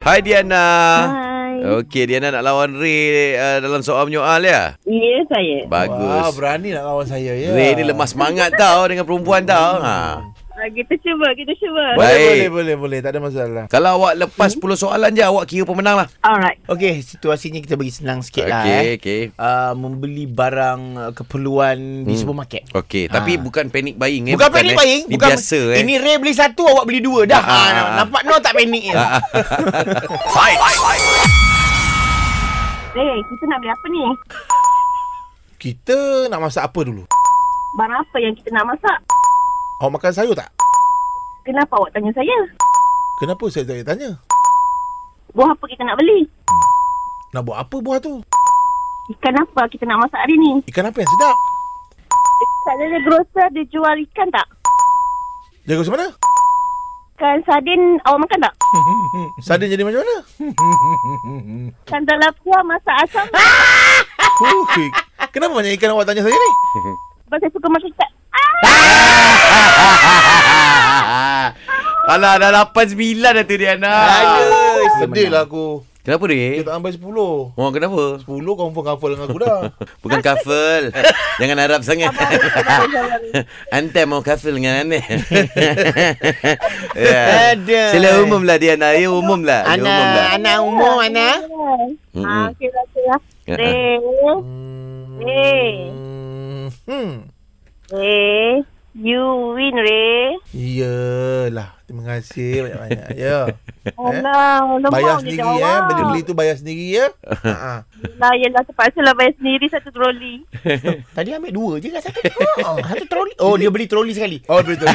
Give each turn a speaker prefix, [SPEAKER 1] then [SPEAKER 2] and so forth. [SPEAKER 1] Hai Diana.
[SPEAKER 2] Hai.
[SPEAKER 1] Okey, Diana nak lawan Ray uh, dalam soal menyoal ya?
[SPEAKER 2] Ya, saya.
[SPEAKER 3] Wah,
[SPEAKER 1] Bagus.
[SPEAKER 3] berani nak lawan saya ya.
[SPEAKER 1] Ray ni lemah semangat tau dengan perempuan tau. Ha.
[SPEAKER 2] Ah, Kita cuba, kita cuba.
[SPEAKER 1] Ba-
[SPEAKER 3] Boleh,
[SPEAKER 1] Baik.
[SPEAKER 3] boleh, boleh, boleh. Tak ada masalah.
[SPEAKER 1] Kalau awak
[SPEAKER 3] Hmm.
[SPEAKER 1] lepas 10 soalan je, awak kira pemenang lah.
[SPEAKER 2] Alright.
[SPEAKER 3] Okey, situasinya kita bagi senang sikit lah
[SPEAKER 1] Okey,
[SPEAKER 3] eh.
[SPEAKER 1] okey.
[SPEAKER 3] Uh, membeli barang uh, keperluan di supermarket.
[SPEAKER 1] Okey, tapi
[SPEAKER 3] Ha.
[SPEAKER 1] bukan panic buying eh.
[SPEAKER 3] Bukan panik buying.
[SPEAKER 1] Hmm. Ini
[SPEAKER 3] bukan,
[SPEAKER 1] biasa eh.
[SPEAKER 3] Ini Ray beli satu, awak beli dua. Dah.
[SPEAKER 1] Ah, ah, ah.
[SPEAKER 3] Ah, nampak no tak panik ya.
[SPEAKER 2] Eh, kita nak beli apa ni?
[SPEAKER 3] Kita nak masak apa dulu?
[SPEAKER 2] Barang apa yang kita nak masak?
[SPEAKER 3] Awak makan sayur tak?
[SPEAKER 2] Kenapa awak tanya saya?
[SPEAKER 3] Kenapa saya saya tanya?
[SPEAKER 2] Buah apa kita nak beli?
[SPEAKER 3] Nak buat apa buah tu?
[SPEAKER 2] Ikan apa kita nak masak hari ni?
[SPEAKER 3] Ikan apa yang sedap?
[SPEAKER 2] Dekat ada grocer dia jual ikan tak?
[SPEAKER 3] Jaga macam mana?
[SPEAKER 2] Ikan sardin awak makan tak?
[SPEAKER 3] Sardin jadi macam mana?
[SPEAKER 2] Ikan talapia masak asam tak?
[SPEAKER 1] Ah!
[SPEAKER 3] Huh, Kenapa banyak ikan awak tanya saya ni?
[SPEAKER 2] Sebab saya suka makan ikan. Ah,
[SPEAKER 1] Alah, dah 8 9 dah tu Diana.
[SPEAKER 3] Aduh, sedih lah aku.
[SPEAKER 1] Kenapa
[SPEAKER 3] Dia
[SPEAKER 1] Ray?
[SPEAKER 3] tak sampai 10.
[SPEAKER 1] Oh, kenapa?
[SPEAKER 3] 10 confirm kafal dengan aku dah.
[SPEAKER 1] Bukan kafel. Jangan harap sangat. Antai mau kafel dengan aneh. ya.
[SPEAKER 3] Aduh.
[SPEAKER 1] Sila umum lah dia Ana. Ya umum lah. Dia umum lah.
[SPEAKER 3] anak umum, anak.
[SPEAKER 2] Yeah. Ah,
[SPEAKER 1] Mm-mm.
[SPEAKER 2] okey lah, okey lah.
[SPEAKER 1] Ya.
[SPEAKER 2] Eh, eh,
[SPEAKER 3] Hmm.
[SPEAKER 2] eh, you win,
[SPEAKER 3] Eh?
[SPEAKER 2] Ray.
[SPEAKER 3] Iyalah. Terima kasih banyak-banyak. Ya.
[SPEAKER 2] Alah, lemah Oh,
[SPEAKER 3] Bayar
[SPEAKER 2] dia
[SPEAKER 3] sendiri
[SPEAKER 2] jawab.
[SPEAKER 3] eh. Benda beli tu bayar sendiri ya. Ha.
[SPEAKER 2] Lah, yelah terpaksa lah bayar sendiri satu troli.
[SPEAKER 3] lah,
[SPEAKER 4] Tadi ambil dua je kan satu. Oh, satu troli. Oh, dia beli troli sekali.
[SPEAKER 3] Oh betul.